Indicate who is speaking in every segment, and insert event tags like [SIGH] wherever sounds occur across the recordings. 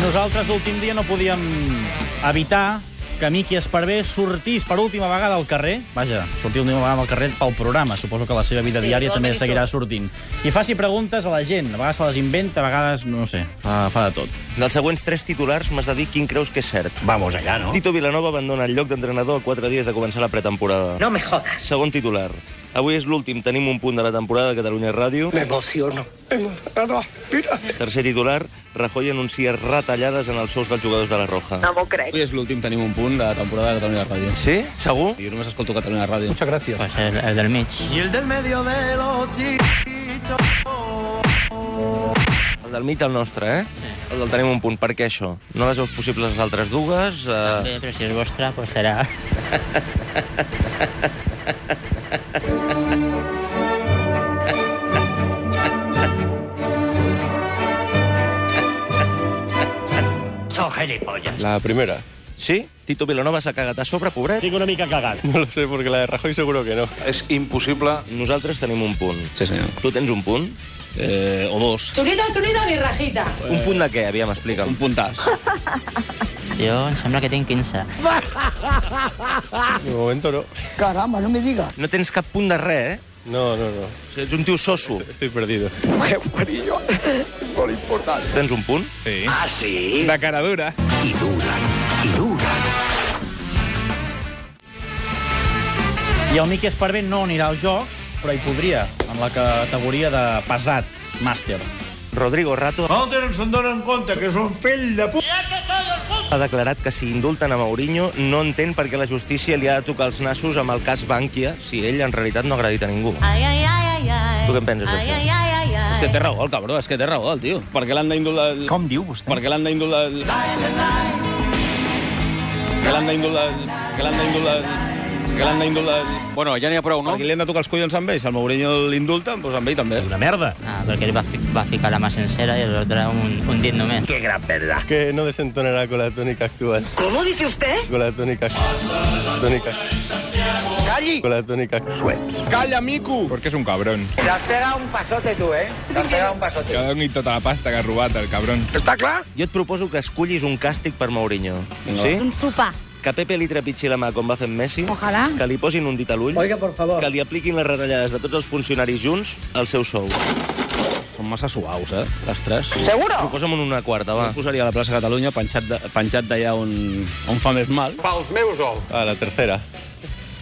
Speaker 1: Nosaltres l'últim dia no podíem evitar que Miqui Esparvé sortís per última vegada al carrer, vaja, sortir última vegada al carrer pel programa, suposo que la seva vida
Speaker 2: Sí,
Speaker 1: diària també
Speaker 2: igualment hi
Speaker 1: seguirà sortint. I faci preguntes a la gent, a vegades se les inventa, a vegades, no sé, fa, fa de tot.
Speaker 3: Dels següents tres titulars m'has de dir quin creus que és cert.
Speaker 4: Vamos allá, ¿no?
Speaker 3: Tito Vilanova abandona el lloc d'entrenador a quatre dies de començar la pretemporada.
Speaker 2: No me jodas.
Speaker 3: Segon titular. Avui és l'últim, tenim un punt de la temporada de Catalunya Ràdio.
Speaker 5: Me emociono. Me emociono. Mira.
Speaker 3: Tercer titular, Rajoy anuncia retallades en els sous dels jugadors de la Roja.
Speaker 2: No m'ho crec.
Speaker 6: Avui és l'últim Tenim un punt de la temporada de Catalunya Ràdio.
Speaker 3: Sí? Segur?
Speaker 6: Jo només escolto Catalunya Ràdio.
Speaker 7: Pues el, el del mig.
Speaker 3: El del mig el nostre, eh? El del tenim un punt. Per què això? No les veus possibles les altres dues? Eh...
Speaker 7: També, però si és vostra, pues serà...
Speaker 8: Son gilipollas.
Speaker 4: La primera. [LAUGHS]
Speaker 3: Sí? Tito Vilanova s'ha cagat a sobre, pobret?
Speaker 8: Tengo una mica cagada.
Speaker 4: No lo sé, porque la de Rajoy seguro que no.
Speaker 6: És impossible.
Speaker 3: Nosaltres tenim un punt.
Speaker 6: Sí, senyor.
Speaker 3: Tu tens un punt?
Speaker 6: Eh, o dos.
Speaker 2: Chulita, chulita, mi rajita.
Speaker 3: Un punt de què? Aviam, explica'm.
Speaker 6: Un puntàs.
Speaker 7: Jo em sembla que tinc 15.
Speaker 4: De momento no.
Speaker 5: Caramba, no me digas.
Speaker 3: No tens cap punt de res, eh?
Speaker 4: No, no, no.
Speaker 3: O sigui, ets un tio soso.
Speaker 4: Estoy perdido.
Speaker 3: Tens un punt?
Speaker 8: Ah, sí.
Speaker 6: De cara dura.
Speaker 1: I el Miqui Esparvé no anirà als Jocs, però hi podria, en la categoria de pesat, màster.
Speaker 3: Rodrigo Rato ha declarat que si indulten a Mourinho no entén per què la justícia li ha de tocar els nassos amb el cas Bànquia si ell en realitat no ha agredit a ningú.
Speaker 9: Ai, ai, ai, ai, ai.
Speaker 3: Tu què en penses,
Speaker 9: Ai,
Speaker 3: d'això?
Speaker 9: ai, ai, ai, ai.
Speaker 6: És que té raó, el cabró, és que té raó, el tio. Per què l'han d'indultar... Com diu, vostè? Per què l'han d'indultar... Que l'han d'indultar... Que l'han d'indultar... Que l'han d'indultar... Bueno, ja n'hi ha prou, no? Perquè li han de tocar els collons amb ell. Si el Mourinho l'indulta, doncs amb ell també.
Speaker 1: Una merda.
Speaker 7: Ah, perquè ell va, fi, va ficar la mà sencera i l'altre un, un dit només.
Speaker 8: Qué gran verdad.
Speaker 4: Que no desentonará con la tónica actual. ¿Cómo dice usted? Con la tónica. Tónica. ¡Calli! Con la tónica.
Speaker 6: Calla, mico! Perquè és un cabron.
Speaker 2: Te has pegado un pasote tu, eh? Te has pegado un pasote.
Speaker 6: doni tota la pasta que ha robat, el cabron.
Speaker 3: Jo et proposo que escollis un càstig per Mourinho.
Speaker 6: Vinga,
Speaker 3: Sí?
Speaker 9: Un sopar.
Speaker 3: Que Pepe li trepitgi la mà com va fer amb Messi.
Speaker 9: Ojalà.
Speaker 3: Que li posin un dit a l'ull. Oiga, por favor. Que li apliquin les retallades de tots els funcionaris junts al seu sou.
Speaker 6: Són massa suaus, eh, les tres.
Speaker 2: Seguro?
Speaker 3: Proposa'm una quarta,
Speaker 6: Jo
Speaker 3: va.
Speaker 6: em posaria a la plaça Catalunya penjat de- penjat d'allà on, on fa més mal.
Speaker 4: Ah, la tercera.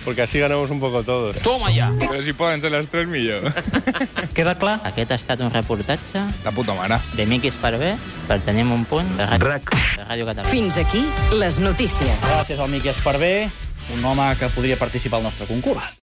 Speaker 4: Porque así ganamos un poco todos.
Speaker 6: Però si poden ser les tres, millor. [LAUGHS]
Speaker 1: Queda clar?
Speaker 7: Aquest ha estat un reportatge
Speaker 6: La puta mare.
Speaker 7: de Miqui Esparvé per tenir un punt de ràdio, de ràdio català.
Speaker 10: Fins aquí les notícies.
Speaker 1: Gràcies al Miqui Esparvé, un home que podria participar al nostre concurs.